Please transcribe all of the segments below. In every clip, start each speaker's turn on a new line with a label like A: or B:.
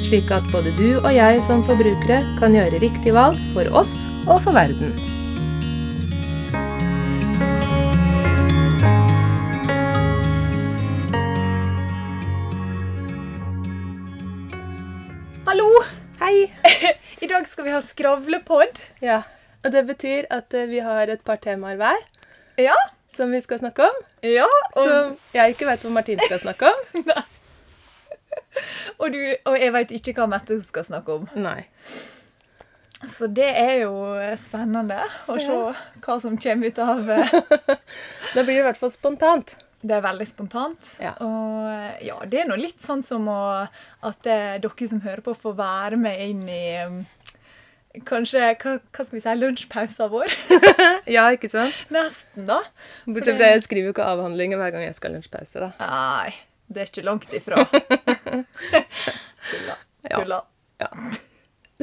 A: slik at både du og jeg som forbrukere kan gjøre riktig valg for oss og for verden.
B: Hallo!
A: Hei!
B: I dag skal vi ha skravlepodd.
A: Ja, og det betyr at eh, vi har et par temaer hver
B: Ja.
A: som vi skal snakke om,
B: ja. Og,
A: som jeg ikke vet hva Martine skal snakke om.
B: og, du, og jeg veit ikke hva Mette skal snakke om.
A: Nei.
B: Så det er jo eh, spennende å se
A: Ja.
B: hva som kommer ut av eh,
A: Da blir det i hvert fall spontant.
B: Det er veldig spontant.
A: Ja.
B: Og eh, ja, det er nå litt sånn som å, at eh, dere som hører på, får være med inn i eh, Kanskje hva, hva skal vi si, lunsjpausen vår?
A: Ja, ikke sant?
B: Nesten, da.
A: Bortsett fra jeg skriver jo ikke avhandlinger hver gang jeg skal ha lunsjpause, da.
B: Nei, det er ikke langt ifra. Tulla.
A: Ja.
B: Tulla.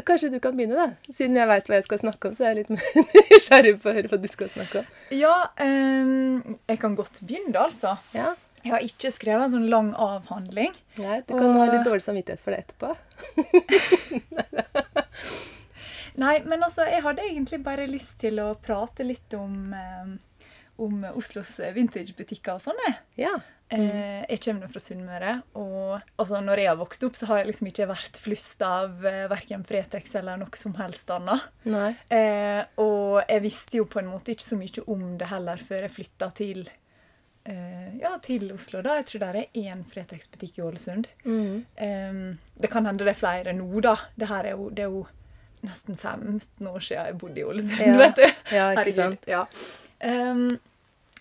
A: Kanskje du kan begynne, da? Siden jeg veit hva jeg skal snakke om, så er jeg litt mer nysgjerrig på å høre hva du skal snakke om.
B: Ja, ehm, jeg kan godt begynne, da, altså.
A: Ja,
B: Jeg har ikke skrevet en sånn lang avhandling.
A: Nei, du kan
B: Og-
A: ha litt dårlig samvittighet for det etterpå.
B: Nei, men altså, jeg hadde egentlig bare lyst til å prate litt om, ehm, om Oslos vintagebutikker og sånn. jeg.
A: Ja.
B: Eh, jeg kommer nå fra Sunnmøre, og altså, når jeg har vokst opp, så har jeg liksom ikke vært flust av eh, verken Fretex eller noe som helst annet.
A: Nei.
B: Eh, og jeg visste jo på en måte ikke så mye om det heller før jeg flytta til, eh, ja, til Oslo. da. Jeg tror det er én Fretex-butikk i Ålesund.
A: Mm.
B: Ehm, det kan hende det er flere nå, da. Det her er jo, det er jo nesten 15 år siden jeg bodde i Ålesund,
A: Ja.
B: vet du.
A: Ja, ikke
B: Herregud,
A: sant.
B: Ja. Ehm,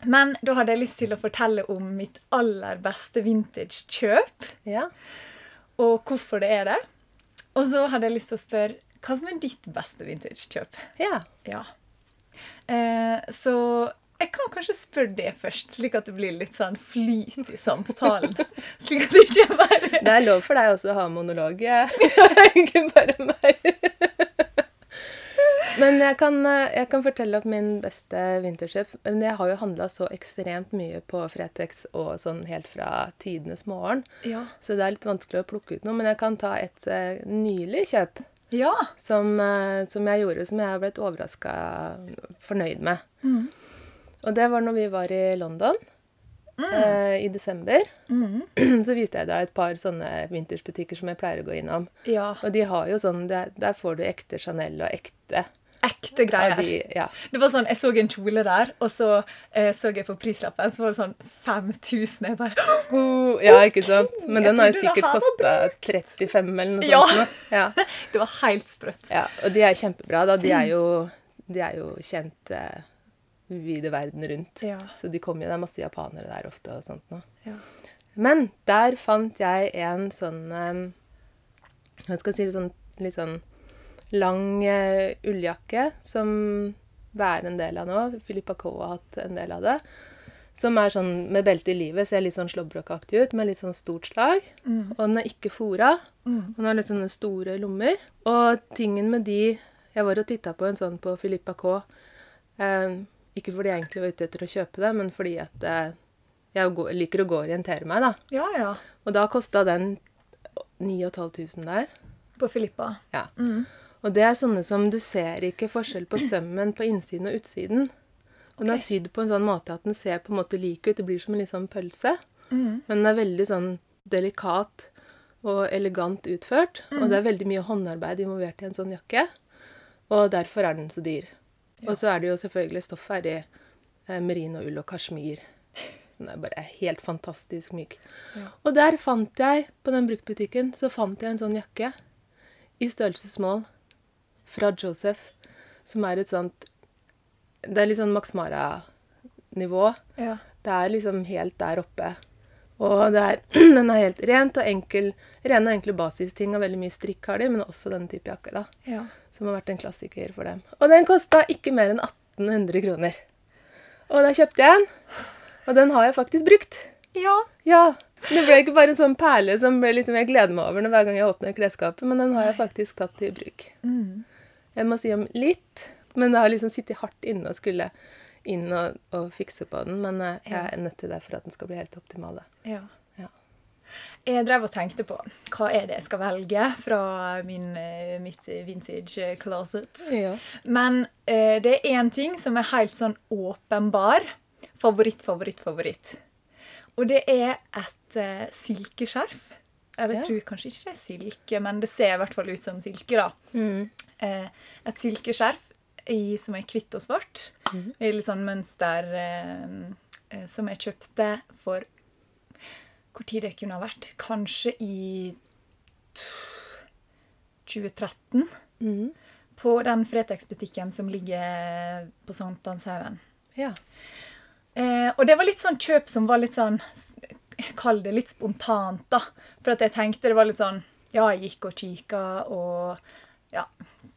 B: men da hadde jeg lyst til å fortelle om mitt aller beste vintage-kjøp,
A: Ja.
B: og hvorfor det er det. Og så hadde jeg lyst til å spørre hva som er ditt beste vintage-kjøp?
A: ja.
B: Ja. Eh, så jeg kan kanskje spørre det først, slik at det blir litt sånn flyt i samtalen. slik at det ikke er bare
A: Det er lov for deg også å ha monolog. eh. Det er ikke bare meg. Men jeg kan, eh, jeg kan fortelle om min beste vinterkjøp. Men Jeg har jo handla så ekstremt mye på Fretex og sånn helt fra tidenes morgen,
B: Ja.
A: så det er litt vanskelig å plukke ut noe. Men jeg kan ta et eh, nylig kjøp
B: Ja.
A: som, eh, som jeg gjorde, som jeg har blitt overraska fornøyd med.
B: Mm.
A: Og det var når vi var i London
B: Mm.
A: eh, i desember. Så viste jeg deg et par sånne vintersbutikker som jeg pleier å gå innom.
B: ja.
A: Og de har jo sånn, der, der får du ekte Chanel og ekte
B: Ekte
A: av
B: greier.
A: de Ja.
B: Det var sånn, Jeg så en kjole der, og så eh, så jeg på prislappen, så var det sånn 5000. Jeg bare
A: Oh, ja, ikke sant? Men
B: Jeg
A: den har jo
B: trodde det
A: sikkert
B: her var
A: kosta 35 eller noe
B: Ja.
A: sånt. nå. Ja.
B: Det var helt sprøtt.
A: ja. Og de er kjempebra, da. De er jo, de er jo kjent eh, vide verden rundt.
B: Ja.
A: Så de kommer jo, det er masse japanere der ofte og sånt nå.
B: Ja.
A: Men der fant jeg en sånn eh, Hva skal jeg si litt sånn, litt sånn lang eh, ulljakke som Bærer en del av nå. Filippa K har hatt en del av det. Som er sånn med belte i livet, ser litt sånn slåbrokaktig ut, med litt sånn stort slag. Og den er ikke fora. Og den har litt sånne store lommer. Og tingen med de Jeg var og titta på en sånn på Filippa K. Eh, ikke fordi jeg egentlig var ute etter å kjøpe det, men fordi at eh, jeg går, liker å gå og orientere meg, da.
B: Ja, ja.
A: Og da kosta den 9500 der.
B: På Filippa.
A: Ja.
B: Mm.
A: Og det er sånne som du ser ikke forskjell på sømmen på innsiden og utsiden. Og den er
B: Ok.
A: sydd på en sånn måte at den ser på en måte lik ut. Det blir som en litt sånn pølse.
B: Mm.
A: Men den er veldig sånn delikat og elegant utført.
B: Mm.
A: Og det er veldig mye håndarbeid involvert i en sånn jakke. Og derfor er den så dyr. Og så er det jo selvfølgelig stoffet er i eh, merinoull og kasjmir. Så Den er bare helt fantastisk myk.
B: Ja.
A: Og der fant jeg, på den bruktbutikken, så fant jeg en sånn jakke i størrelsesmål fra Joseph, som er et sånt Det er litt sånn Max Mara-nivå.
B: Ja.
A: Det er liksom helt der oppe. Og det er, den er helt rent og enkel, rene og enkle basisting, og veldig mye strikk har de, men også denne type jakke, da,
B: Ja.
A: som har vært en klassiker for dem. Og den kosta ikke mer enn 1800 kroner. Og da kjøpte jeg en, og den har jeg faktisk brukt.
B: ja.
A: Ja. Det ble ikke bare en sånn perle som ble litt mer jeg gleder meg over når hver gang jeg åpner klesskapet, men den har jeg faktisk tatt i bruk.
B: Mm.
A: Jeg må si om litt, men det har liksom sittet hardt inne og skulle inn og, og fikse på den. Men eh, jeg er nødt til det for at den skal bli helt optimal. da.
B: Ja.
A: Ja.
B: Jeg drev og tenkte på hva er det jeg skal velge fra min, eh, mitt vintage eh, closet.
A: Ja.
B: Men eh, det er én ting som er helt sånn åpenbar favoritt, favoritt, favoritt. Og det er et eh, silkeskjerf. Eller
A: Ja.
B: jeg tror kanskje ikke det er silke, men det ser i hvert fall ut som silke. da.
A: Mm.
B: Eh, et silkeskjerf i, som er hvitt og svart. I litt sånn mønster eh, eh, som jeg kjøpte for Hvor tid det kunne ha vært? Kanskje i t- 2013.
A: Mm.
B: På den Fretex-butikken som ligger på Sankthanshaugen.
A: ja.
B: Eh, og det var litt sånn kjøp som var litt sånn s- Kall det litt spontant, da. For at jeg tenkte det var litt sånn Ja, jeg gikk og kikka og ja,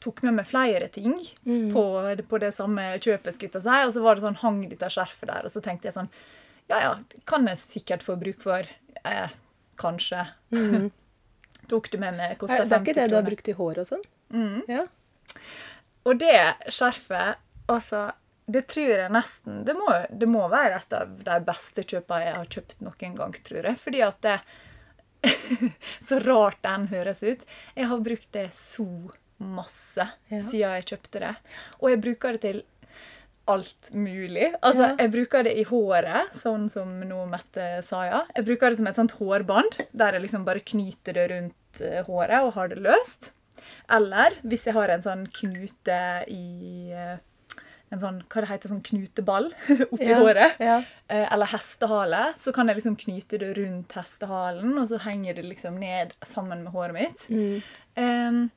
B: tok med meg flere ting
A: Mm.
B: på, det- på det samme kjøpet, skulle jeg til å si. Og så var det sånn, hang dette skjerfet der, og så tenkte jeg sånn Ja, ja, det kan jeg sikkert få bruk for. Eh, kanskje.
A: Mm.
B: Tok det med meg, kosta
A: Er,
B: 50
A: det er ikke det du har
B: kroner.
A: brukt i hår og sånn?
B: Mm.
A: Ja.
B: Og det skjerfet, altså Det tror jeg nesten Det må, det må være et av de beste kjøpene jeg har kjøpt noen gang, tror jeg. Fordi at det Så rart den høres ut. Jeg har brukt det så masse
A: Ja.
B: siden jeg kjøpte det. Og jeg bruker det til alt mulig. Altså,
A: Ja.
B: jeg bruker det i håret, sånn som nå Mette sa, ja. Jeg bruker det som et sånt hårbånd, der jeg liksom bare knyter det rundt eh, håret og har det løst. Eller hvis jeg har en sånn knute i eh, En sånn, hva det heter, sånn knuteball oppi
A: ja.
B: håret.
A: Ja.
B: Eh, eller hestehale, så kan jeg liksom knyte det rundt hestehalen, og så henger det liksom ned sammen med håret mitt.
A: Mm.
B: Ehm,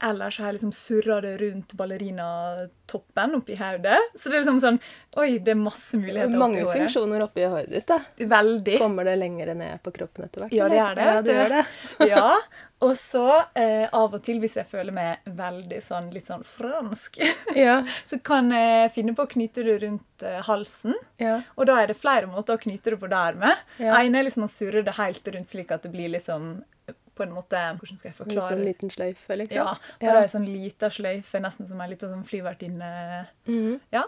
B: eller så har jeg liksom surra det rundt ballerinatoppen oppi hodet. Så det er liksom sånn Oi, det er masse muligheter oppi
A: Mange
B: håret.
A: funksjoner oppi håret ditt. da.
B: Veldig.
A: Kommer det lengre ned på kroppen etter hvert?
B: Ja, det
A: eller?
B: er det,
A: Ja,
B: vet
A: det
B: du.
A: gjør det.
B: Ja. Og så, eh, av og til, hvis jeg føler meg veldig sånn litt sånn fransk,
A: Ja.
B: så kan jeg finne på å knyte det rundt eh, halsen.
A: Ja.
B: Og da er det flere måter å knyte det på der med.
A: Ja.
B: En er liksom å surre det helt rundt slik at det blir liksom på en måte, Hvordan skal jeg
A: Litt
B: forklare
A: sånn
B: det?
A: liten sløyfe, liksom.
B: Ja, og
A: Ja.
B: da er det sånn lita sløyfe, nesten som en liten sånn flyvertinne
A: Mhm.
B: Ja.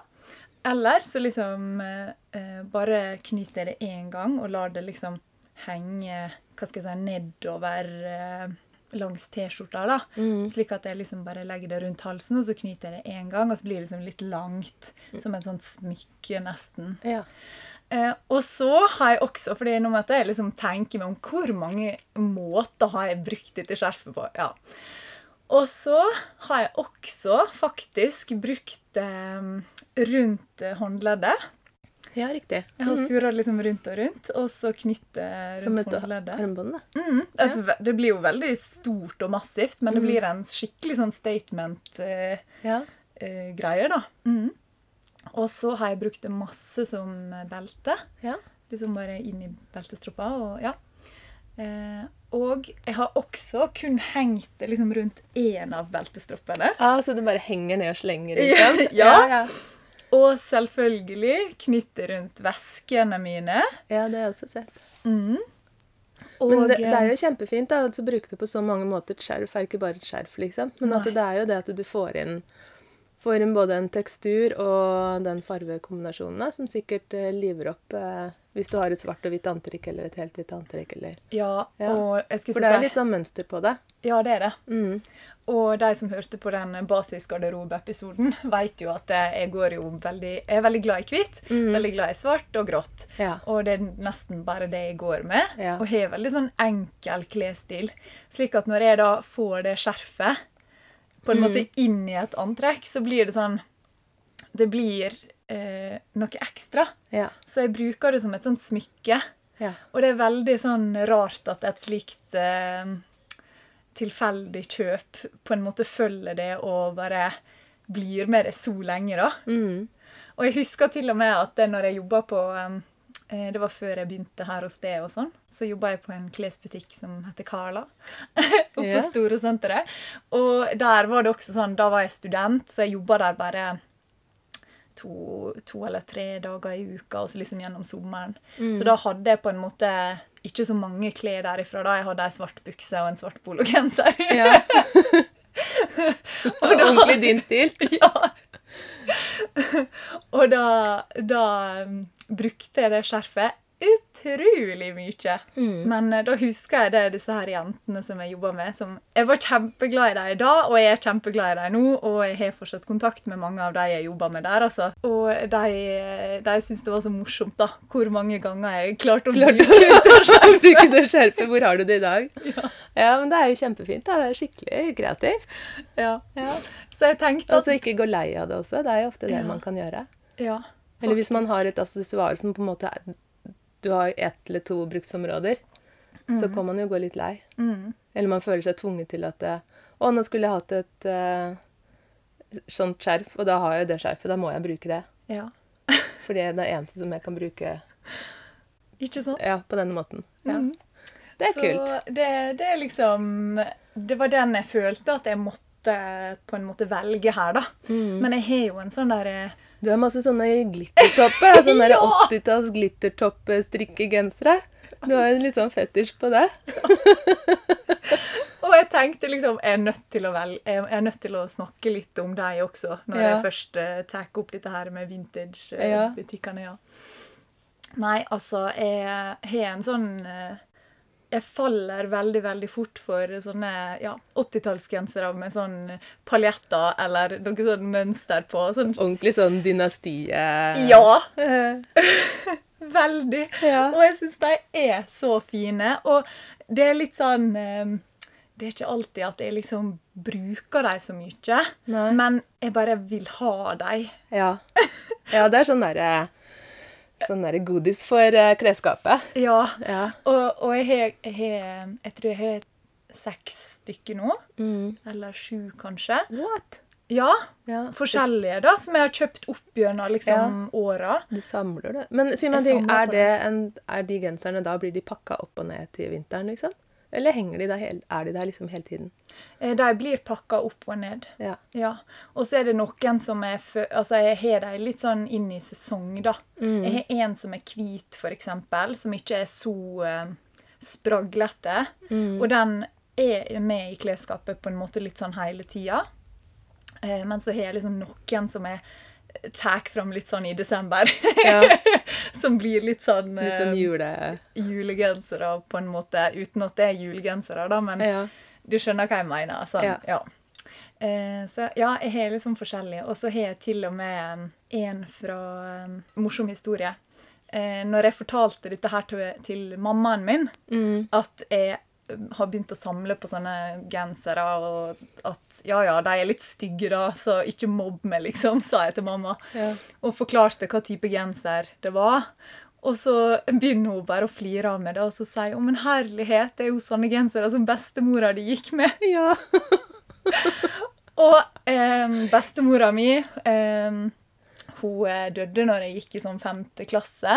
B: Eller så liksom eh, eh, bare knyter jeg det én gang og lar det liksom henge hva skal jeg si, nedover eh, langs T-skjorta. da.
A: Mhm.
B: Slik at jeg liksom bare legger det rundt halsen, og så knyter jeg det én gang, og så blir det liksom litt langt.
A: Mm.
B: Som et sånt smykke, nesten.
A: ja.
B: Eh, og så har jeg også, fordi nå måtte jeg liksom tenke meg om hvor mange måter har jeg brukt dette skjerfet på. Ja. Og så har jeg også faktisk brukt det rundt eh, håndleddet.
A: Ja, riktig.
B: Jeg har surra det liksom rundt og rundt, og så knytte
A: Mhm. Som et
B: rundt håndleddet.
A: armbånd, da.
B: Mm, et, ve- Det blir jo veldig stort og massivt, men det
A: Mhm.
B: blir en skikkelig sånn statement-greie,
A: Ja.
B: da. Mm. Og så har jeg brukt det masse som belte.
A: ja.
B: Liksom bare inn i beltestroppa. Og, ja. eh, og jeg har også kun hengt det liksom rundt én av beltestroppene.
A: Ah, så det bare henger ned og slenger
B: Ja,
A: liksom?
B: ja.
A: ja.
B: Og selvfølgelig knyttet rundt veskene mine.
A: Ja, det har jeg også sett.
B: Mm. Og, eh,
A: Men det, det er jo kjempefint da, at du bruker det på så mange måter. Et skjerf er ikke bare et skjerf, liksom. Men at
B: Nei.
A: det er jo det at du får inn, får inn både en tekstur og den farvekombinasjonen da, som sikkert eh, liver opp eh, hvis du har et svart og hvitt antrekk eller et helt hvitt antrekk. Eller.
B: ja,
A: Ja.
B: og jeg
A: For
B: skulle
A: det er
B: til
A: jo
B: å si
A: litt sånn mønster på det.
B: Ja, det er det.
A: Mm.
B: Og de som hørte på den basisgarderobe-episoden, vet jo at eh, jeg går jo veldig Jeg er veldig glad i hvitt, veldig glad i svart og grått.
A: Mm. Ja.
B: Og det er nesten bare det jeg går med.
A: Ja.
B: Og har veldig sånn enkel klesstil. Slik at når jeg da får det skjerfet på
A: Mm.
B: en måte inn i et antrekk, så blir det sånn Det blir eh, noe ekstra.
A: Ja.
B: Så jeg bruker det som et sånt smykke.
A: Ja.
B: Og det er veldig sånn rart at et slikt eh, tilfeldig kjøp på en måte følger det og bare blir med det så lenge, da.
A: Mm.
B: Og jeg husker til og med at det når jeg jobba på um, Eh, Det var før jeg begynte her hos deg og sånn. Så jobba jeg på en klesbutikk som heter Carla. Oppe
A: Ja.
B: på Storosenteret. Og der var det også sånn, da var jeg student, så jeg jobba der bare to, to eller tre dager i uka, og så liksom gjennom sommeren. Så da hadde jeg på en måte ikke så mange klær derifra. da. Jeg hadde ei svart bukse og en svart pologenser.
A: Ja. Og ordentlig din stil.
B: ja. Og da, da um, brukte jeg det skjerfet utrolig mye. Men eh, da husker jeg det, disse her jentene som jeg jobba med. som Jeg var kjempeglad i dem da, og jeg er kjempeglad i dem nå. Og jeg har fortsatt kontakt med mange av de jeg jobba med der. altså. Og de, de syntes det var så morsomt da, hvor mange ganger jeg klarte å
A: Klart å
B: bruke det
A: bruke det skjerfet. Hvor har du det i dag? Ja. men det er jo kjempefint. Da. Det er skikkelig kreativt.
B: Ja.
A: Ja.
B: Så jeg tenkte at
A: Altså ikke gå lei av det også. Det er jo ofte det
B: Ja.
A: man kan gjøre.
B: ja,
A: Eller hvis man har et accessoar som på en måte er Du har ett eller to bruksområder, så kan man jo gå litt lei.
B: Mm.
A: Eller man føler seg tvunget til at eh, Å, nå skulle jeg hatt et eh, sånt skjerf, og da har jeg det skjerfet. Da må jeg bruke det.
B: ja.
A: For det er det eneste som jeg kan bruke
B: Ikke sant?
A: ja, på denne måten. Ja.
B: Mhm.
A: Det er
B: så
A: kult.
B: Det, det er liksom Det var den jeg følte at jeg måtte på en måte velge her, da.
A: Mm.
B: Men jeg har jo en sånn derre
A: Du har masse sånne glittertopper. da, Sånne
B: Ja!
A: 80-talls glittertopp-strikkegensere. Du har en litt sånn fetisj på det.
B: Og jeg tenkte liksom Jeg er nødt til å, vel, jeg jeg er nødt til å snakke litt om deg også, når
A: Ja.
B: jeg først uh, tar opp dette her med
A: Ja.
B: vintage-butikkene. ja. Nei, altså Jeg har en sånn eh, jeg faller veldig veldig fort for sånne ja, 80-tallsgensere med sånn paljetter eller noe sånn mønster på. Sånn,
A: Ordentlig sånn dynastie...
B: ja!
A: Eh,
B: Veldig.
A: Ja.
B: Og jeg syns de er så fine. Og det er litt sånn eh, Det er ikke alltid at jeg liksom bruker dem så mye,
A: Nei.
B: men jeg bare vil ha dem.
A: ja. ja, det er sånn derre Sånn derre godis for eh, klesskapet.
B: Ja.
A: Ja.
B: Og, og jeg har jeg, har- jeg tror jeg har seks stykker nå. Eller sju, kanskje.
A: What?
B: Ja.
A: Mm. Ja.
B: Forskjellige, da, som jeg har kjøpt opp gjennom liksom, åra.
A: Du samler det. Men si meg en
B: Jeg
A: ting,
B: samler
A: er,
B: på
A: det en, er de genserne da blir de pakka opp og ned til vinteren, liksom? Eller henger de der hele, er de der liksom hele tiden?
B: Eh, De blir pakka opp og ned.
A: Ja.
B: Ja. Og så er det noen som er fø- Altså, jeg har dem litt sånn inn i sesong, da.
A: Mm.
B: Jeg har en som er hvit, for eksempel, som ikke er så eh, spraglete.
A: Mm.
B: Og den er med i klesskapet på en måte litt sånn hele tida. Eh, men så har jeg liksom noen som jeg tar fram litt sånn i desember.
A: ja.
B: som blir litt sånn,
A: Litt sånn
B: eh,
A: jule...
B: julegensere, på en måte. Uten at det er julegensere, da, men
A: Ja.
B: du skjønner hva jeg mener. Sånn.
A: Ja.
B: Ja. Eh, så ja, jeg har liksom forskjellige. Og så har jeg til og med um, en fra um, Morsom historie. Eh, når jeg fortalte dette her til, til mammaen min,
A: Mm.
B: at jeg um, har begynt å samle på sånne gensere, og at ja, ja, de er litt stygge, da, så ikke mobb meg, liksom, sa jeg til mamma.
A: Ja.
B: Og forklarte hva type genser det var. Og så begynner hun bare å flire av meg det, og så sier hun men herlighet, det er jo sånne gensere som bestemora di gikk med.
A: ja.
B: Og em, bestemora mi em, hun eh, døde når jeg gikk i sånn femte klasse,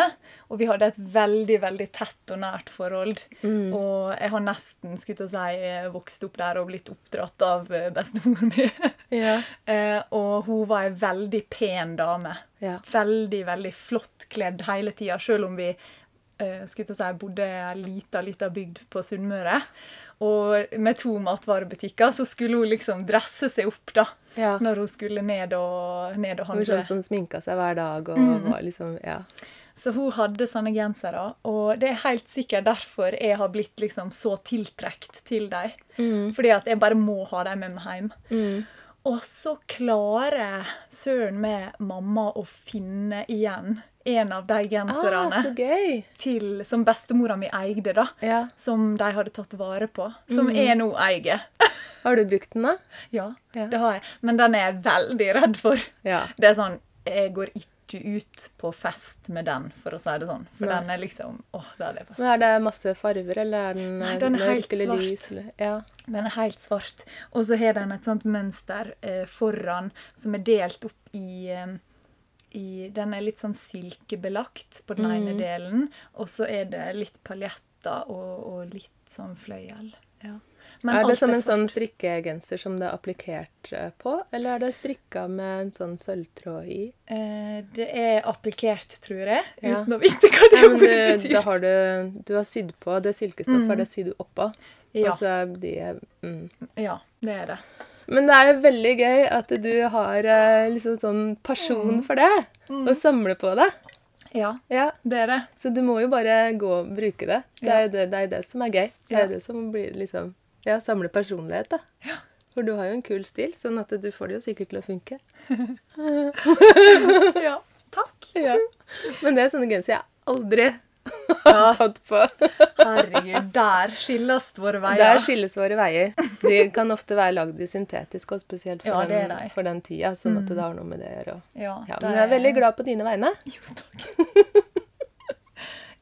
B: og vi hadde et veldig veldig tett og nært forhold. Og jeg har nesten skulle til å si, vokst opp der og blitt oppdratt av eh, bestemor mi.
A: Ja.
B: Eh, og hun var ei veldig pen dame.
A: Ja.
B: Veldig, veldig flott kledd hele tida, sjøl om vi eh, skulle til å si, bodde i ei lita, lita bygd på Sunnmøre. Og med to matvarebutikker så skulle hun liksom dresse seg opp, da.
A: Ja.
B: Når hun skulle ned og, ned
A: Det
B: og
A: var
B: handle.
A: sånn som sminka seg hver dag og
B: Mm.
A: var liksom Ja.
B: Så hun hadde sånne gensere, og det er helt sikkert derfor jeg har blitt liksom så tiltrukket til dem.
A: Mm.
B: Fordi at jeg bare må ha dem med meg hjem. Og så klarer søren med mamma å finne igjen en av de
A: Ah,
B: genserne
A: så gøy!
B: til, som bestemora mi eide, da.
A: Ja.
B: Som de hadde tatt vare på.
A: Mm.
B: Som jeg nå eier.
A: Har du brukt den, da?
B: ja,
A: Ja.
B: det har jeg. Men den er jeg veldig redd for.
A: Ja.
B: Det er sånn, jeg går ikke ut på fest med den, for å si det sånn. For
A: Nei.
B: den er liksom, åh, det er det beste.
A: Men Er det masse farver, eller er den
B: Nei,
A: eh,
B: den er helt
A: eller
B: svart.
A: lys? eller- Ja.
B: Den er helt svart. Og så har den et sånt mønster eh, foran som er delt opp i eh, i Den er litt sånn silkebelagt på den ene
A: Mm.
B: delen, og så er det litt paljetter og, og litt sånn fløyel. Ja. Men
A: er det
B: alt
A: som en
B: sånn-
A: sånn strikkegenser som det er applikert eh, på, eller er det strikka med en sånn sølvtråd i?
B: eh, Det er applikert, tror jeg,
A: Ja.
B: uten å vite hva det
A: Nei, men
B: ordet
A: du, da
B: betyr.
A: har du, du har sydd på det silkestoffet,
B: Mm.
A: er det sydd oppå.
B: Ja,
A: Og så er de mm.
B: ja, det er det.
A: Men det er jo veldig gøy at du har eh, liksom sånn
B: Mm.
A: pasjon for det, og samler på det.
B: Ja,
A: Ja,
B: det er det.
A: Så du må jo bare gå og bruke det. Det er jo det, det, er jo det som er gøy. Det er
B: Ja.
A: jo det som blir liksom Ja, samle personlighet, da. For du har jo en kul stil, sånn at du får det jo sikkert til å funke.
B: Ja, takk.
A: Ja. Men det er sånne gensere jeg aldri
B: Ja,
A: har tatt på.
B: herregud, der skilles våre veier.
A: Der skilles våre veier. De kan ofte være lagd i syntetisk, og spesielt for,
B: Ja, det er
A: den,
B: de.
A: for den tida. Sånn at det har noe med det å gjøre. også.
B: Ja,
A: Ja,
B: det
A: men jeg er veldig glad på dine vegne.
B: Jo, takk.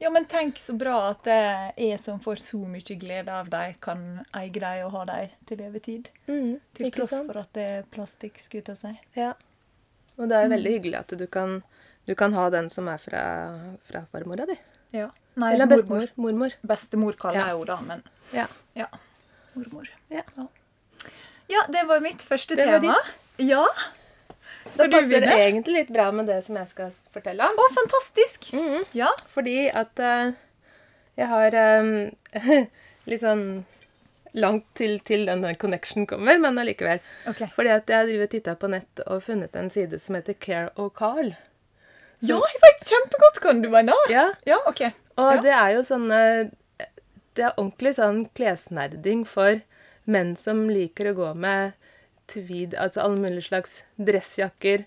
B: ja, men tenk så bra at det er jeg som får så mye glede av dem, kan eie dem og ha dem til levetid.
A: Mm,
B: Til
A: ikke
B: tross
A: sant?
B: for at det er plastikk, skulle jeg til å si.
A: Ja. Og det er jo veldig
B: Mm.
A: hyggelig at du kan, du kan ha den som er fra, fra farmora di.
B: Ja. Nei,
A: Eller
B: mormor.
A: bestemor. Mormor.
B: Bestemor kaller
A: Ja.
B: jeg henne da, men
A: Ja.
B: ja. Mormor.
A: Ja.
B: ja. Ja, det var mitt første
A: Det var
B: tema. Ja.
A: Da
B: Skal du
A: passer det
B: begynne?
A: egentlig litt bra med det som jeg skal fortelle om.
B: Å, fantastisk!
A: Mhm.
B: Ja.
A: Fordi at eh, jeg har eh, litt sånn langt til, til denne connection kommer, men allikevel.
B: Ok.
A: Fordi at jeg driver og titta på nett og funnet en side som heter Care og Carl.
B: Ja, jeg vet kjempegodt hva du mener!
A: Ja,
B: Ja, OK.
A: Og
B: Ja.
A: det er jo sånne Det er ordentlig sånn klesnerding for menn som liker å gå med tweed, altså alle mulige slags dressjakker,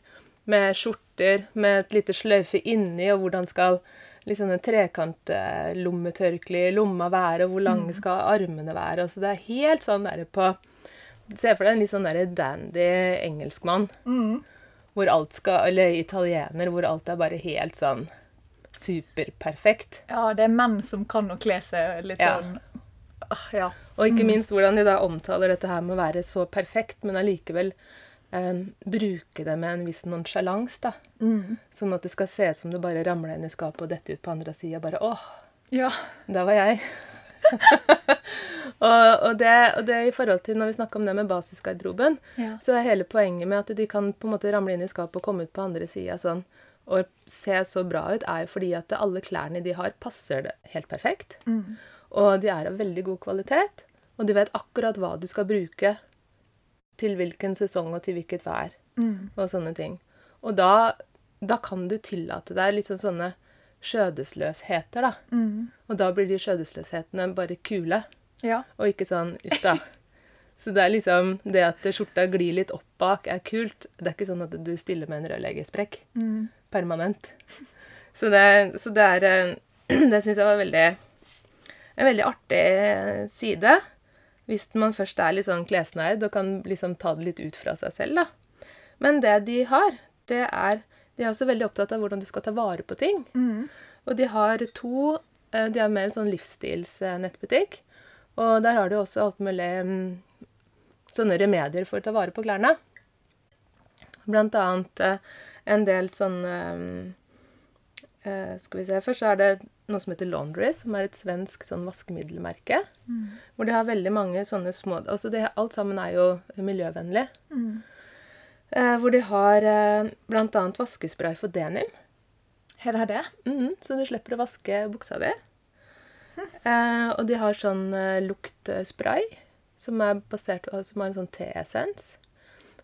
A: med skjorter, med et lite sløyfe inni, og hvordan skal liksom den trekantlommetørkleet i eh, lomma være, og hvor lange skal armene være? Altså det er helt sånn derre på Se for deg en litt sånn derre dandy engelskmann. Hvor alt skal, eller italiener, hvor alt er bare helt sånn superperfekt.
B: Ja, det er menn som kan å kle seg litt
A: Ja.
B: sånn Åh, Ja.
A: Og ikke minst hvordan de da omtaler dette her med å være så perfekt, men allikevel eh, bruke det med en viss nonsjalans, da. Sånn at det skal se ut som du bare ramla inn i skapet og dette ut på andre sida. Bare åh,
B: Ja.
A: der var jeg. og, og, det, og det i forhold til når vi snakker om det med basisgarderoben,
B: Ja.
A: så er hele poenget med at de kan på en måte ramle inn i skapet og komme ut på andre sida sånn, og se så bra ut, er jo fordi at alle klærne de har, passer det helt perfekt. Og de er av veldig god kvalitet, og de vet akkurat hva du skal bruke til hvilken sesong og til hvilket vær og sånne ting. Og da, da kan du tillate deg liksom sånne skjødesløsheter, da. Og da blir de skjødesløshetene bare kule,
B: ja.
A: og ikke sånn uff da. Så det er liksom det at skjorta glir litt opp bak, er kult. Det er ikke sånn at du stiller med en rørleggersprekk permanent. Så det, så det er eh, Det syns jeg var veldig en veldig artig eh, side. Hvis man først er litt sånn klesnerd og kan liksom ta det litt ut fra seg selv, da. Men det de har, det er De er også veldig opptatt av hvordan du skal ta vare på ting. Og de har to eh, De har mer en sånn livsstilsnettbutikk. Og der har de også alt mulig mm, sånne remedier for å ta vare på klærne. Blant annet eh, en del sånne eh, eh, Skal vi se Først så er det noe som heter Laundry, som er et svensk sånn vaskemiddelmerke. Hvor de har veldig mange sånne små altså det, Alt sammen er jo miljøvennlig. Eh, hvor de har eh, bl.a. vaskespray for denim.
B: Her er det.
A: Mhm, så du slipper å vaske buksa di. Eh, og de har sånn eh, luktspray som er basert på som har en sånn teessens.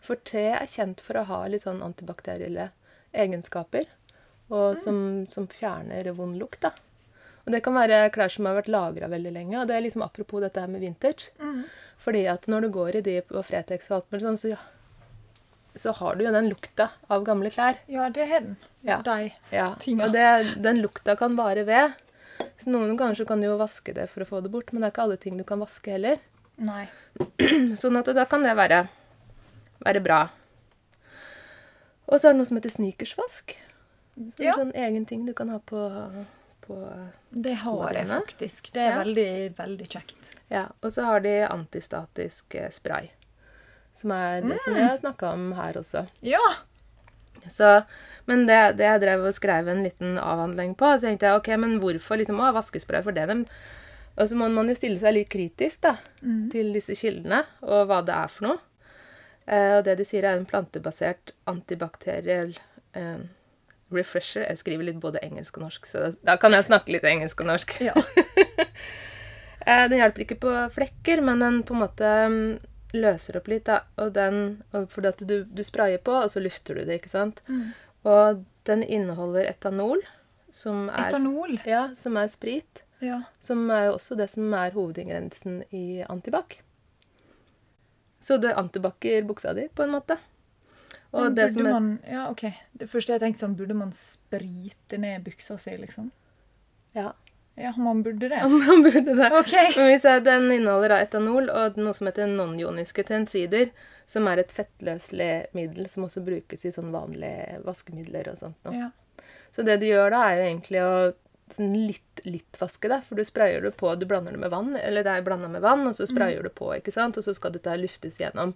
A: For te er kjent for å ha litt sånn antibakterielle egenskaper. Og som, som fjerner vond lukt, da. Og det kan være klær som har vært lagra veldig lenge. Og det er liksom apropos dette her med vintage. Fordi at når du går i de på Fretex og alt mulig sånn, så, så har du jo den lukta av gamle klær.
B: Ja, det er den.
A: Ja.
B: De.
A: Ja,
B: tinga.
A: og det, den lukta kan vare ved. Så noen ganger så kan du jo vaske det for å få det bort, men det er ikke alle ting du kan vaske heller.
B: Nei.
A: Sånn at da kan det være, være bra. Og så er det noe som heter sneakersvask. Så det er
B: Ja.
A: Sånn egen ting du kan ha på, på
B: Det har jeg
A: Sporene.
B: faktisk. Det er
A: Ja.
B: veldig, veldig kjekt.
A: Ja, og så har de antistatisk eh, spray. Som er det som vi har snakka om her også.
B: Ja!
A: Så, men det, det jeg drev og skrev en liten avhandling på, så tenkte jeg ok, men hvorfor liksom, å, vaskespray for det? Dem? Og så må man jo stille seg litt kritisk da, til disse kildene og hva det er for noe. Eh, og det de sier, er en plantebasert antibakteriell eh, refresher. Jeg skriver litt både engelsk og norsk, så da, da kan jeg snakke litt engelsk og norsk.
B: Ja.
A: Eh, den hjelper ikke på flekker, men den på en måte mm, løser opp litt. Da. Og den, og fordi at du, du sprayer på, og så lufter du det, ikke sant?
B: Mm.
A: Og den inneholder etanol, som er,
B: Etanol.
A: Ja, som er sprit.
B: Ja.
A: Som er jo også det som er hovedingrediensen i antibac. Så det antibac-er buksa di, på en måte. Og
B: Men
A: det
B: burde
A: som er,
B: man, ja, ok. Det første jeg tenkte sånn, burde man sprite ned buksa si, liksom?
A: ja,
B: Ja, man burde det.
A: man burde det.
B: Ok.
A: Men vi ser Den inneholder da etanol og noe som heter non-ioniske tensider, som er et fettløselig middel som også brukes i sånn vanlige vaskemidler og sånt. Nå.
B: Ja.
A: Så det de gjør da, er jo egentlig å sånn litt, litt vaske det, for du sprayer det på, du blander det med vann, eller det er blanda med vann, og så sprayer du på, ikke sant, og så skal dette luftes gjennom.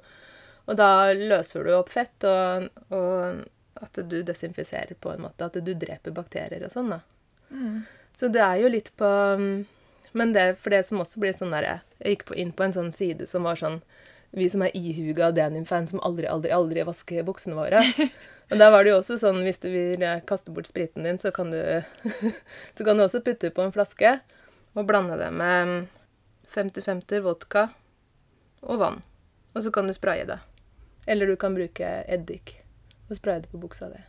A: Og da løser du opp fett, og, og at du desinfiserer på en måte, at du dreper bakterier og sånn, da.
B: Mm.
A: Så det er jo litt på um, Men det for det som også blir sånn derre Jeg gikk på, inn på en sånn side som var sånn Vi som er ihuga denim-fan som aldri, aldri, aldri vasker buksene våre. Og der var det jo også sånn hvis du vil eh, kaste bort spriten din, så kan du Så kan du også putte på en flaske og blande det med mm, 50-50 vodka og vann. Og så kan du spraye det. Eller du kan bruke eddik og spraye det på buksa di.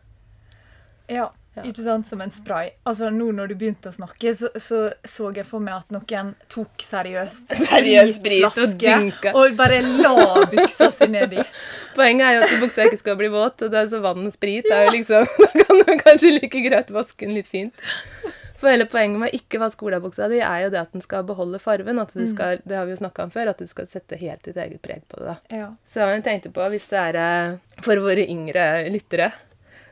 B: Ja,
A: Ja.
B: ikke sant? Som en spray. Altså, nå når du begynte å snakke, så så, så jeg for meg at noen tok seriøst
A: Seriøst sprit og
B: spritflaske
A: dynka.
B: Og bare la buksa si ned i.
A: Poenget er jo at buksa ikke skal bli våt, og det er så vann og sprit er jo liksom, Da kan du kanskje like greit vaske den litt fint. For hele poenget med å ikke vaske olabuksa di er jo det at den skal beholde fargen. At du skal, det har vi jo snakka om før, at du skal sette helt ditt eget preg på det. da.
B: Ja.
A: Så jeg tenkte på, hvis det er eh, for våre yngre lyttere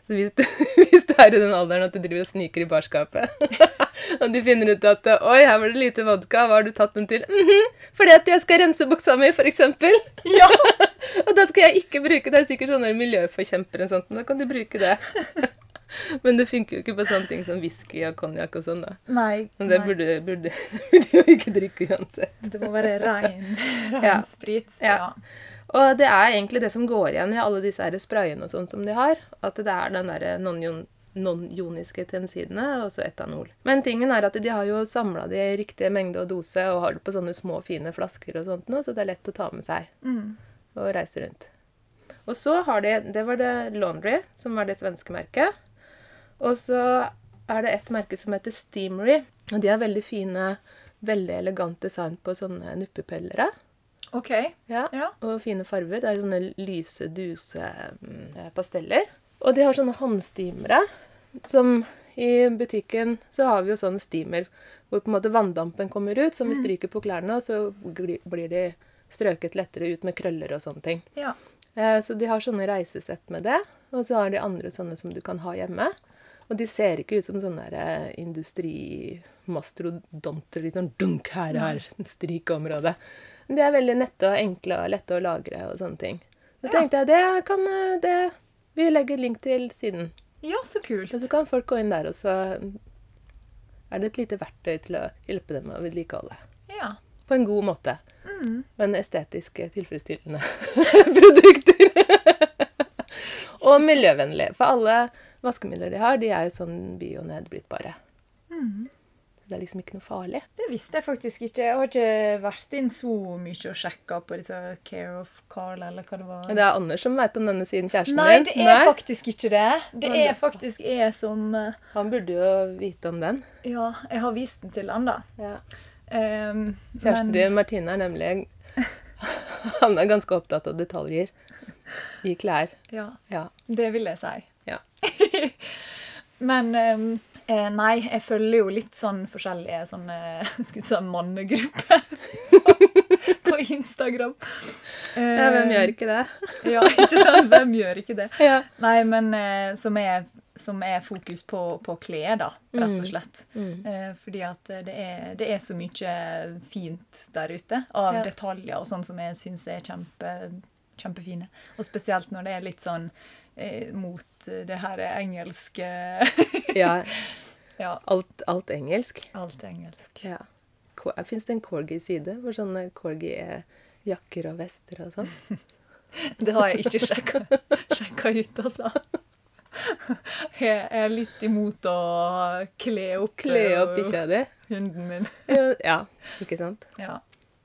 A: så hvis du, hvis du er i den alderen at du driver og sniker i barskapet, og du finner ut at eh, 'oi, her var det lite vodka, hva har du tatt den til?' «Mhm, 'Fordi at jeg skal rense buksa mi', for eksempel.
B: Ja.
A: og da skal jeg ikke bruke Det er sikkert sånne miljøforkjempere og sånt, men da kan du bruke det. men det funker jo ikke på sånne ting som whisky og konjakk og sånn, da.
B: Nei,
A: Men det
B: nei.
A: burde, burde, burde jo ikke drikke uansett.
B: det må være rein, rein
A: Ja.
B: sprit.
A: Ja. Og det er egentlig det som går igjen i alle disse her sprayene og sånn som de har. At det er den derre non-ion- non-ioniske tensidene og så etanol. Men tingen er at de har jo samla det i riktige mengde og dose og har det på sånne små, fine flasker og sånt nå, så det er lett å ta med seg
B: Mm.
A: og reise rundt. Og så har de Det var det Laundry, som var det svenske merket. Og så er det et merke som heter Steamery. Og de har veldig fine, veldig elegant design på sånne nuppepellere.
B: OK.
A: Ja.
B: Ja.
A: Og fine farger. Det er sånne lyse, duse mm, eh, pasteller. Og de har sånne håndstimere. Som i butikken så har vi jo sånn steamer hvor på en måte vanndampen kommer ut, som vi stryker på klærne, og så gli- blir de strøket lettere ut med krøller og sånne ting.
B: Ja.
A: Eh, Så de har sånne reisesett med det, og så har de andre sånne som du kan ha hjemme. Og de ser ikke ut som sånne der, eh, industrimastrodonter. Litt sånn dunk her, her, stryk området. Men de er veldig nette og enkle og lette å lagre og sånne ting. Så tenkte jeg det kan eh, det, Vi legger link til siden.
B: ja, så kult.
A: Og så kan folk gå inn der, og så er det et lite verktøy til å hjelpe dem å vedlikeholde.
B: Ja.
A: På en god måte. Men estetisk eh, tilfredsstillende produkter. og miljøvennlig. For alle vaskemidler de har, de er jo sånn bionedbrytbare. Mm. Så det er liksom ikke noe farlig.
B: Det visste jeg faktisk ikke. Jeg har ikke vært inn så mye og sjekka på disse Care of Carl, eller hva det var.
A: Men det er Anders som veit om denne siden kjæresten
B: Nei,
A: din.
B: det er faktisk ikke det. Det er faktisk jeg som eh,
A: Han burde jo vite om den.
B: Ja, jeg har vist den til han, da. Ehm,
A: Kjæresten
B: men-
A: din, Martine, er nemlig Han er ganske opptatt av detaljer i klær.
B: Ja,
A: Ja.
B: det vil jeg si.
A: ja.
B: Men ehm, eh, nei, jeg følger jo litt sånn forskjellige sånne skulle jeg si mannegrupper på, på Instagram.
A: ja hvem
B: Ehm,
A: gjør ikke det?
B: Ja, ikke sant? Hvem gjør ikke det?
A: Ja.
B: Nei, men eh, som, er, som er fokus på, på klær, da, rett
A: Mm.
B: og slett. Eh, fordi at eh, det er, det er så mye fint der ute av
A: Ja.
B: detaljer og sånn som jeg syns er kjempe, kjempefine. Og spesielt når det er litt sånn eh, mot det her engelske
A: Ja,
B: Ja,
A: alt, alt engelsk.
B: alt er engelsk.
A: Ja. Fins det en corgi-side hvor sånne corgi er jakker og vester og sånn?
B: Det har jeg ikke sjekka, sjekka ut, altså. Jeg er litt imot å kle opp,
A: Kle opp bikkja di.
B: hunden min.
A: Ja, ikke sant?
B: Ja.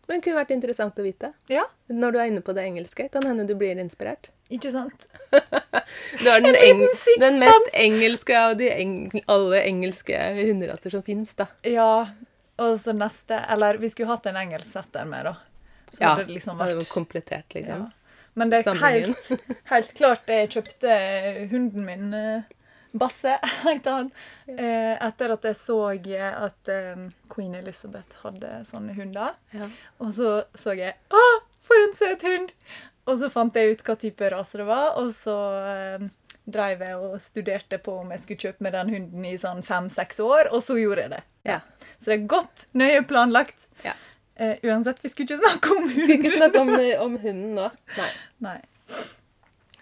A: Men det kunne vært interessant å vite.
B: ja,
A: Når du er inne på det engelske, kan hende du blir inspirert.
B: ikke sant?
A: Du er den,
B: liten
A: eng
B: sixpence!
A: den mest engelske av de eng alle engelske hunderaser som fins, da.
B: Ja, og så neste Eller vi skulle hatt en engelsk setter med, da. Så
A: Ja,
B: hadde det liksom
A: det var
B: vært
A: komplettert, liksom.
B: ja. Men det er
A: Samlingen.
B: helt, helt klart Jeg kjøpte hunden min, eh, Basse, heter han, eh, etter at jeg så at eh, Queen Elizabeth hadde sånne hunder.
A: Ja.
B: Og så så jeg Å, for en søt hund! Og så fant jeg ut hva type rase det var, og så eh, dreiv jeg og studerte på om jeg skulle kjøpe meg den hunden i sånn fem-seks år, og så gjorde jeg det.
A: Ja.
B: Så det er godt nøye planlagt.
A: Ja.
B: Eh, uansett, vi skulle ikke snakke om
A: Skal ikke
B: hunden.
A: snakke om, eh, om hunden nå. Nei.
B: Nei.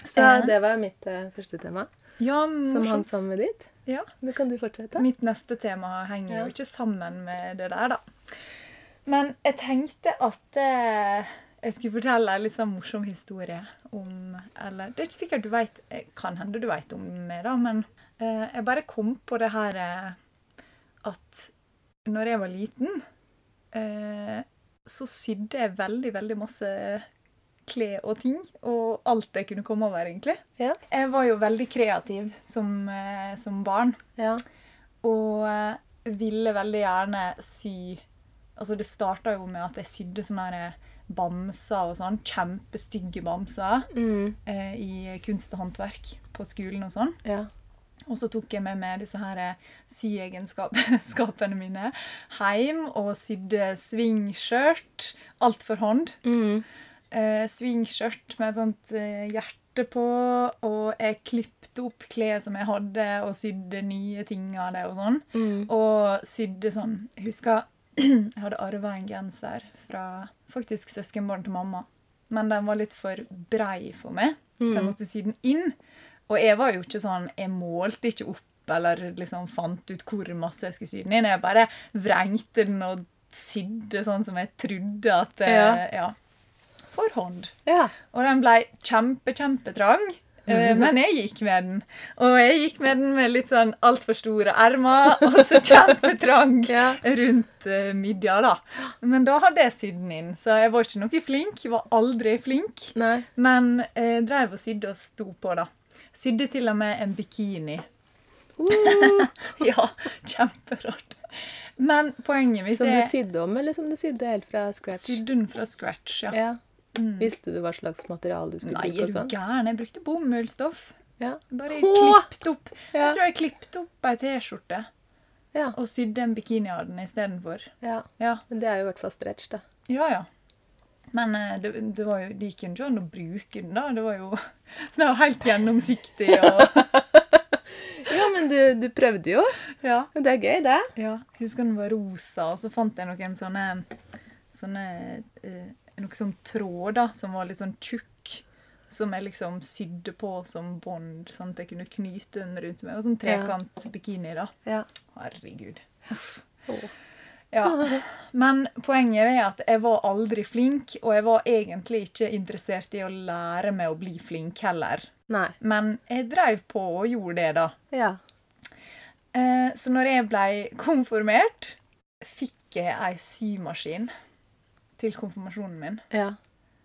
A: Så
B: Eh.
A: det var mitt eh, første tema,
B: Ja,
A: som hang
B: morsomt.
A: sammen med ditt.
B: Ja.
A: Nå kan du fortsette.
B: Mitt neste tema henger
A: Ja.
B: jo ikke sammen med det der, da. Men jeg tenkte at eh, jeg skulle fortelle en litt sånn morsom historie om Eller det er ikke sikkert du veit Kan hende du veit om meg, da, men eh, jeg bare kom på det her eh, at når jeg var liten, eh, så sydde jeg veldig, veldig masse klær og ting. Og alt jeg kunne komme over, egentlig.
A: Ja.
B: Jeg var jo veldig kreativ som, eh, som barn.
A: Ja.
B: Og eh, ville veldig gjerne sy Altså, det starta jo med at jeg sydde sånne her eh, bamser og sånn. Kjempestygge bamser
A: Mm.
B: eh, i kunst og håndverk på skolen og sånn.
A: ja.
B: Og så tok jeg med meg disse her eh, syegenskapene mine hjem og sydde svingskjørt. Alt for hånd.
A: Mm.
B: Eh, svingskjørt med et sånt eh, hjerte på, og jeg klippte opp klær som jeg hadde, og sydde nye ting av det og sånn.
A: Mm.
B: Og sydde sånn Jeg husker jeg hadde arva en genser fra faktisk søskenbarn til mamma. Men den var litt for brei for meg, så jeg måtte sy den inn. Og jeg var jo ikke sånn Jeg målte ikke opp eller liksom fant ut hvor masse jeg skulle sy den inn. Jeg bare vrengte den og sydde sånn som jeg trodde at eh, ja. For hånd.
A: ja.
B: Og den ble kjempe, kjempetrang. eh, Men jeg gikk med den. Og jeg gikk med den med litt sånn altfor store ermer, og så kjempetrang
A: Ja.
B: rundt eh, midja, da. Men da hadde jeg sydd den inn, så jeg var ikke noe flink. Var aldri flink.
A: Nei.
B: Men eh, dreiv og sydde og sto på, da. Sydde til og med en bikini.
A: Uh,
B: Ja, kjemperart. Men poenget mitt
A: som du
B: er
A: sydde om, eller som du sydde helt fra scratch?
B: Sydde den fra scratch, ja. Mm.
A: Ja. Visste du hva slags materiale du skulle
B: Nei,
A: bruke
B: er
A: og
B: du
A: sånn?
B: gæren? Jeg brukte bomullsstoff.
A: Ja.
B: Bare
A: Hå!
B: klippet opp.
A: Ja.
B: Jeg tror jeg klippet opp ei T-skjorte
A: Ja.
B: og sydde en bikini av den istedenfor.
A: ja.
B: Ja.
A: Men det er jo i hvert fall stretch, da.
B: ja, ja. Men eh, det, det var jo, det gikk jo ikke an å bruke den, da. Det var jo det var helt gjennomsiktig og
A: Ja, men du, du prøvde jo.
B: ja,
A: Og Det er gøy, det.
B: ja. Jeg Husker den var rosa, og så fant jeg noen sånne, sånne eh, Noe sånn tråd da, som var litt sånn tjukk. Som jeg liksom sydde på som bånd, sånn at jeg kunne knyte den rundt meg. Og sånn trekant bikini, da.
A: Ja.
B: Herregud.
A: Åh.
B: Ja. Men poenget er at jeg var aldri flink, og jeg var egentlig ikke interessert i å lære meg å bli flink heller.
A: Nei.
B: Men jeg dreiv på og gjorde det, da.
A: Ja.
B: Eh, Så når jeg ble konfirmert, fikk jeg ei symaskin til konfirmasjonen min.
A: Ja.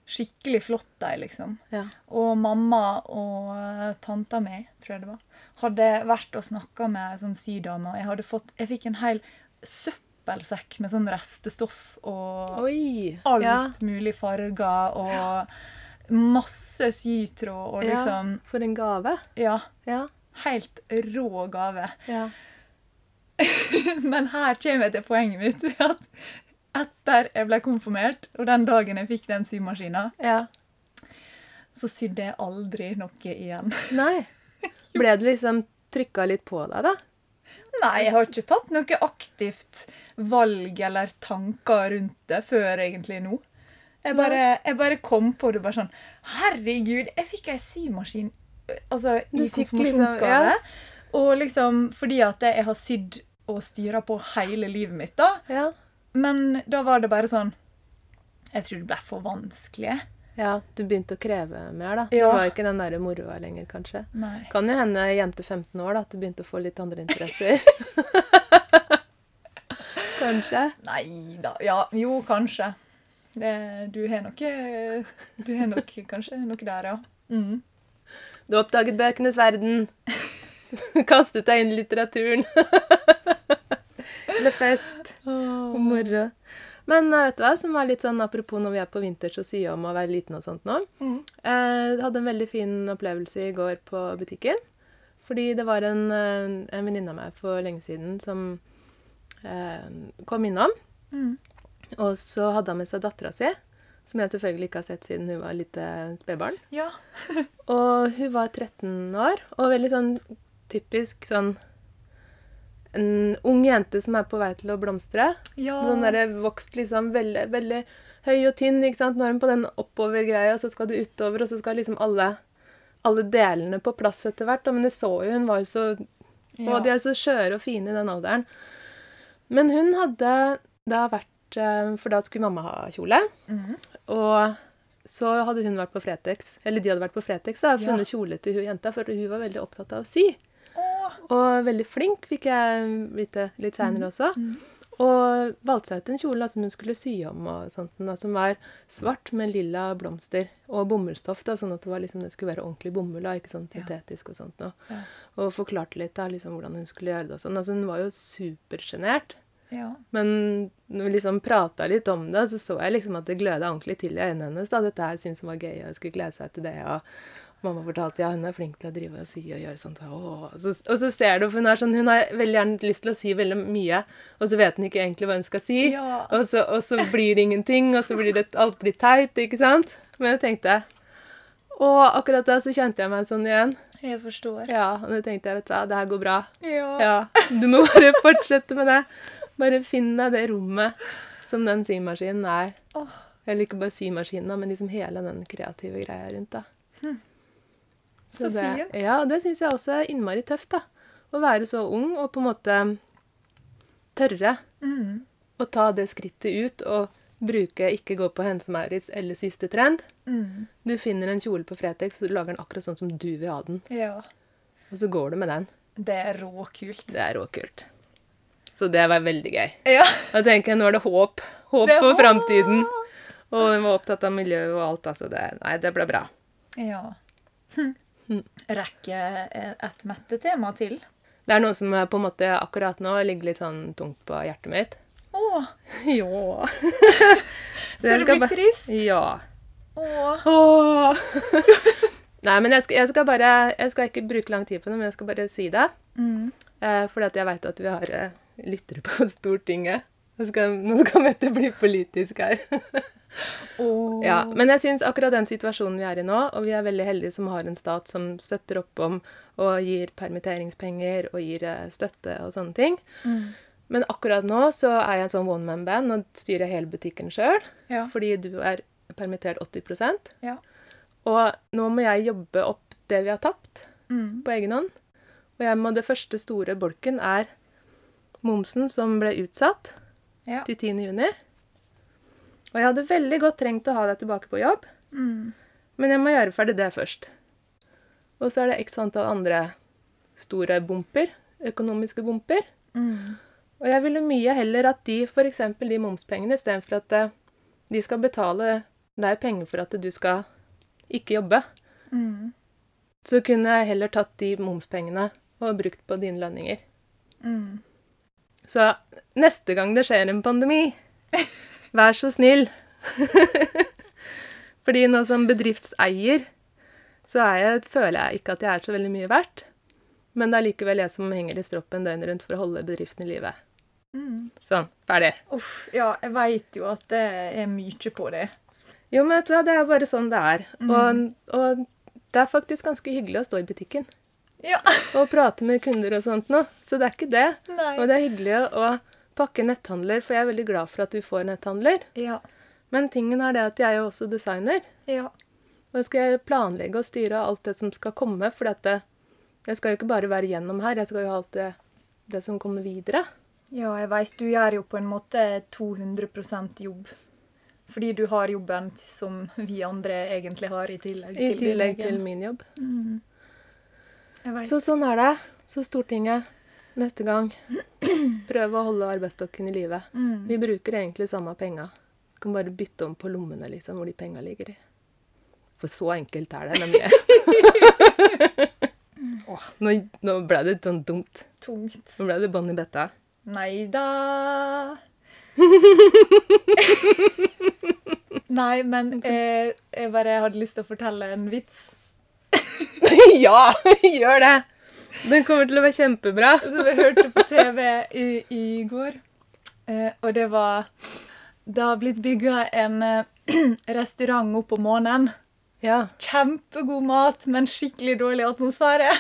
B: Skikkelig flott ei, liksom.
A: Ja.
B: Og mamma og eh, tanta mi, tror jeg det var, hadde vært og snakka med ei sånn sydame, og jeg, hadde fått, jeg fikk en hel søppelsekk med sånn restestoff og
A: Oi.
B: alt
A: Ja.
B: mulig farger og masse sytråd og liksom
A: ja. For en gave.
B: Ja.
A: Ja.
B: Helt rå gave.
A: Ja.
B: Men her kommer jeg til poenget mitt. at Etter jeg ble konfirmert, og den dagen jeg fikk den symaskina,
A: ja.
B: så sydde jeg aldri noe igjen.
A: Nei. Ble det liksom trykka litt på deg, da?
B: Nei, jeg har ikke tatt noe aktivt valg eller tanker rundt det før egentlig nå. Jeg bare, jeg bare kom på det bare sånn Herregud, jeg fikk ei symaskin ø, altså,
A: Du
B: i
A: fikk liksom-
B: konfirmasjonsgave. Og liksom fordi at jeg har sydd og styra på hele livet mitt, da.
A: Ja.
B: Men da var det bare sånn Jeg tror det ble for vanskelig.
A: ja, du begynte å kreve mer, da.
B: Ja.
A: Det var ikke den derre moroa lenger, kanskje.
B: Nei.
A: Kan jo hende ei jente 15 år da, at du begynte å få litt andre interesser. kanskje.
B: Nei da. Ja, jo, kanskje. Det, du har nok Du har nok kanskje noe der, ja. Mm.
A: Du oppdaget bøkenes verden. Kastet deg inn i litteraturen. Eller fest. Og moro. Men eh, vet du hva, som var litt sånn apropos når vi er på vinters og sier om å være liten og sånt nå. Eh,
B: Mm.
A: Jeg hadde en veldig fin opplevelse i går på butikken. Fordi det var en, eh, en venninne av meg for lenge siden som eh, kom innom.
B: Mm.
A: Og så hadde han med seg dattera si, som jeg selvfølgelig ikke har sett siden hun var lite spedbarn.
B: Ja.
A: Og hun var 13 år, og veldig sånn typisk sånn En ung jente som er på vei til å blomstre.
B: ja.
A: Den derre vokst liksom veldig, veldig høy og tynn, ikke sant. Nå er hun på den oppover-greia, og så skal du utover, og så skal liksom alle, alle delene på plass etter hvert. da. Men det så jo, hun var jo så
B: ja.
A: og de er så skjøre og fine i den alderen. Men hun hadde da vært eh, For da skulle mamma ha kjole.
B: Mhm.
A: Og så hadde hun vært på Fretex, eller de hadde vært på Fretex da, og
B: Ja.
A: funnet kjole til hun jenta, for hun var veldig opptatt av å sy.
B: Å,
A: Og veldig flink, fikk jeg vite litt
B: Mm.
A: seinere også. Og valgte seg ut en kjole da, som hun skulle sy om, og sånt, da, som var svart med lilla blomster og bomullstoff. Da, sånn at det, var, liksom, det skulle være ordentlig bomull, da, ikke sånn
B: Ja.
A: syntetisk og sånt. Og,
B: Ja.
A: og forklarte litt da, liksom, hvordan hun skulle gjøre det. og sånn. Altså, hun var jo supersjenert.
B: ja.
A: Men når vi liksom prata litt om det, så så jeg liksom at det gløda ordentlig til i øynene hennes. da, Dette her syntes hun var gøy, og skulle glede seg til det. og Mamma fortalte ja, hun er flink til å drive og sy og gjøre sånt. Og så, og så ser du, for hun, er sånn, hun har veldig gjerne lyst til å si veldig mye, og så vet hun ikke egentlig hva hun skal si.
B: Ja.
A: Og, så, og så blir det ingenting, og så blir det alt blir teit, ikke sant? Men jeg tenkte Og akkurat da så kjente jeg meg sånn igjen.
B: Jeg forstår.
A: Ja, og da tenkte jeg, vet du hva, det her går bra.
B: Ja.
A: Ja, du må bare fortsette med det. Bare finn deg det rommet som den symaskinen er.
B: Åh.
A: Eller ikke bare symaskinen, da, men liksom hele den kreative greia rundt. da.
B: Så
A: det,
B: fint.
A: Ja, og det syns jeg også er innmari tøft. da. Å være så ung og på en måte tørre
B: Mm.
A: å ta det skrittet ut og bruke ikke gå på Hense Maurits eller siste trend.
B: Mm.
A: Du finner en kjole på Fretex, og du lager den akkurat sånn som du vil ha den.
B: Ja.
A: Og så går du med den.
B: Det er råkult.
A: Det er råkult. Så det var veldig gøy.
B: Ja.
A: Da tenker jeg, nå er det håp. Håp
B: Det er
A: for
B: håp!
A: framtiden. Og hun var opptatt av miljø og alt, altså. Det, nei, det ble bra.
B: ja. Hm. Rekker jeg et mettetema til?
A: Det er noe som eh, på en måte akkurat nå ligger litt sånn tungt på hjertet mitt.
B: Å,
A: Ja.
B: så det blir trist?
A: Ja.
B: Å.
A: Nei, men jeg skal, jeg skal bare Jeg skal ikke bruke lang tid på det, men jeg skal bare si det.
B: Mm.
A: Eh, fordi at jeg veit at vi har eh, lyttere på Stortinget. Nå skal, nå skal Mette bli politisk her.
B: Å.
A: Ja, Men jeg syns akkurat den situasjonen vi er i nå, og vi er veldig heldige som har en stat som støtter opp om og gir permitteringspenger og gir eh, støtte og sånne ting.
B: Mm.
A: Men akkurat nå så er jeg en sånn one man band og styrer hele butikken sjøl.
B: Ja.
A: Fordi du er permittert 80
B: Ja.
A: Og nå må jeg jobbe opp det vi har tapt
B: Mm.
A: på egen hånd. Og jeg må, det første store bolken er momsen som ble utsatt
B: Ja.
A: til 10. juni. Og jeg hadde veldig godt trengt å ha deg tilbake på jobb.
B: Mm.
A: Men jeg må gjøre ferdig det først. Og så er det x antall andre store bumper, økonomiske bumper.
B: Mm.
A: Og jeg ville mye heller at de, f.eks. de momspengene, istedenfor at eh, de skal betale deg penger for at du skal ikke jobbe,
B: Mm.
A: så kunne jeg heller tatt de momspengene og brukt på dine lønninger.
B: Mm.
A: Så neste gang det skjer en pandemi, vær så snill. Fordi nå som bedriftseier, så er jeg, føler jeg ikke at jeg er så veldig mye verdt. Men det er likevel jeg som henger i stroppen døgnet rundt for å holde bedriften i live.
B: Mm.
A: Sånn, ferdig.
B: Uff, ja, jeg veit jo at det er mye på det.
A: Jo, men vet du hva, det er bare sånn det er. Og, og det er faktisk ganske hyggelig å stå i butikken
B: Ja.
A: og prate med kunder og sånt nå. Så det er ikke det.
B: Nei.
A: Og det er hyggelig å pakke netthandler, for jeg er veldig glad for at vi får netthandler.
B: Ja.
A: Men tingen er det at jeg er jo også designer.
B: Ja.
A: Og skal jeg planlegge og styre alt det som skal komme, for dette, jeg skal jo ikke bare være gjennom her, jeg skal jo ha alt det, det som kommer videre.
B: ja, jeg veit du gjør jo på en måte 200 jobb. Fordi du har jobben t- som vi andre egentlig har i tillegg
A: I
B: din
A: tillegg til
B: egen.
A: min jobb.
B: Jeg vet.
A: Så sånn er det. Så Stortinget, neste gang, prøv å holde arbeidsstokken i live.
B: Mm.
A: Vi bruker egentlig samme penga. Du kan bare bytte om på lommene, liksom, hvor de penga ligger i. For så enkelt er det nemlig. Åh, nå, nå ble det sånn dumt.
B: Tungt.
A: Nå ble det bånn i bøtta.
B: Nei da. Nei, men eh, jeg bare hadde lyst til å fortelle en vits.
A: ja, gjør det! Den kommer til å være kjempebra.
B: som jeg hørte på TV i, i går. Eh, og det var Det har blitt bygga en eh, restaurant opp på månen.
A: Ja.
B: Kjempegod mat, men skikkelig dårlig atmosfære.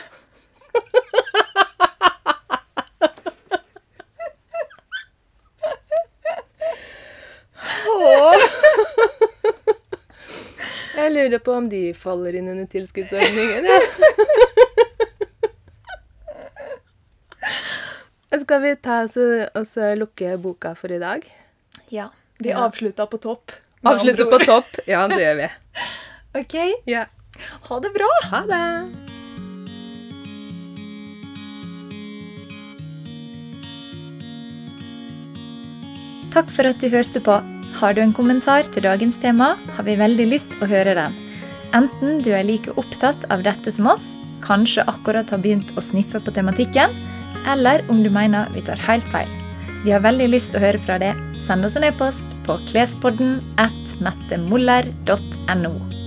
A: Jeg lurer på om de faller inn under tilskuddsordningen. Ja. Skal vi ta oss og så lukke boka for i dag?
B: Ja. Vi avslutta på topp. med
A: Avslutte
B: andre
A: på
B: ord.
A: topp? Ja, det gjør vi.
B: OK.
A: Ja.
B: Ha det bra.
A: Ha det!
C: Takk for at du hørte på. Har du en kommentar til dagens tema, har vi veldig lyst å høre den. Enten du er like opptatt av dette som oss, kanskje akkurat har begynt å sniffe på tematikken, eller om du mener vi tar helt feil. Vi har veldig lyst å høre fra deg. Send oss en e-post på klespodden at mettemoller.no.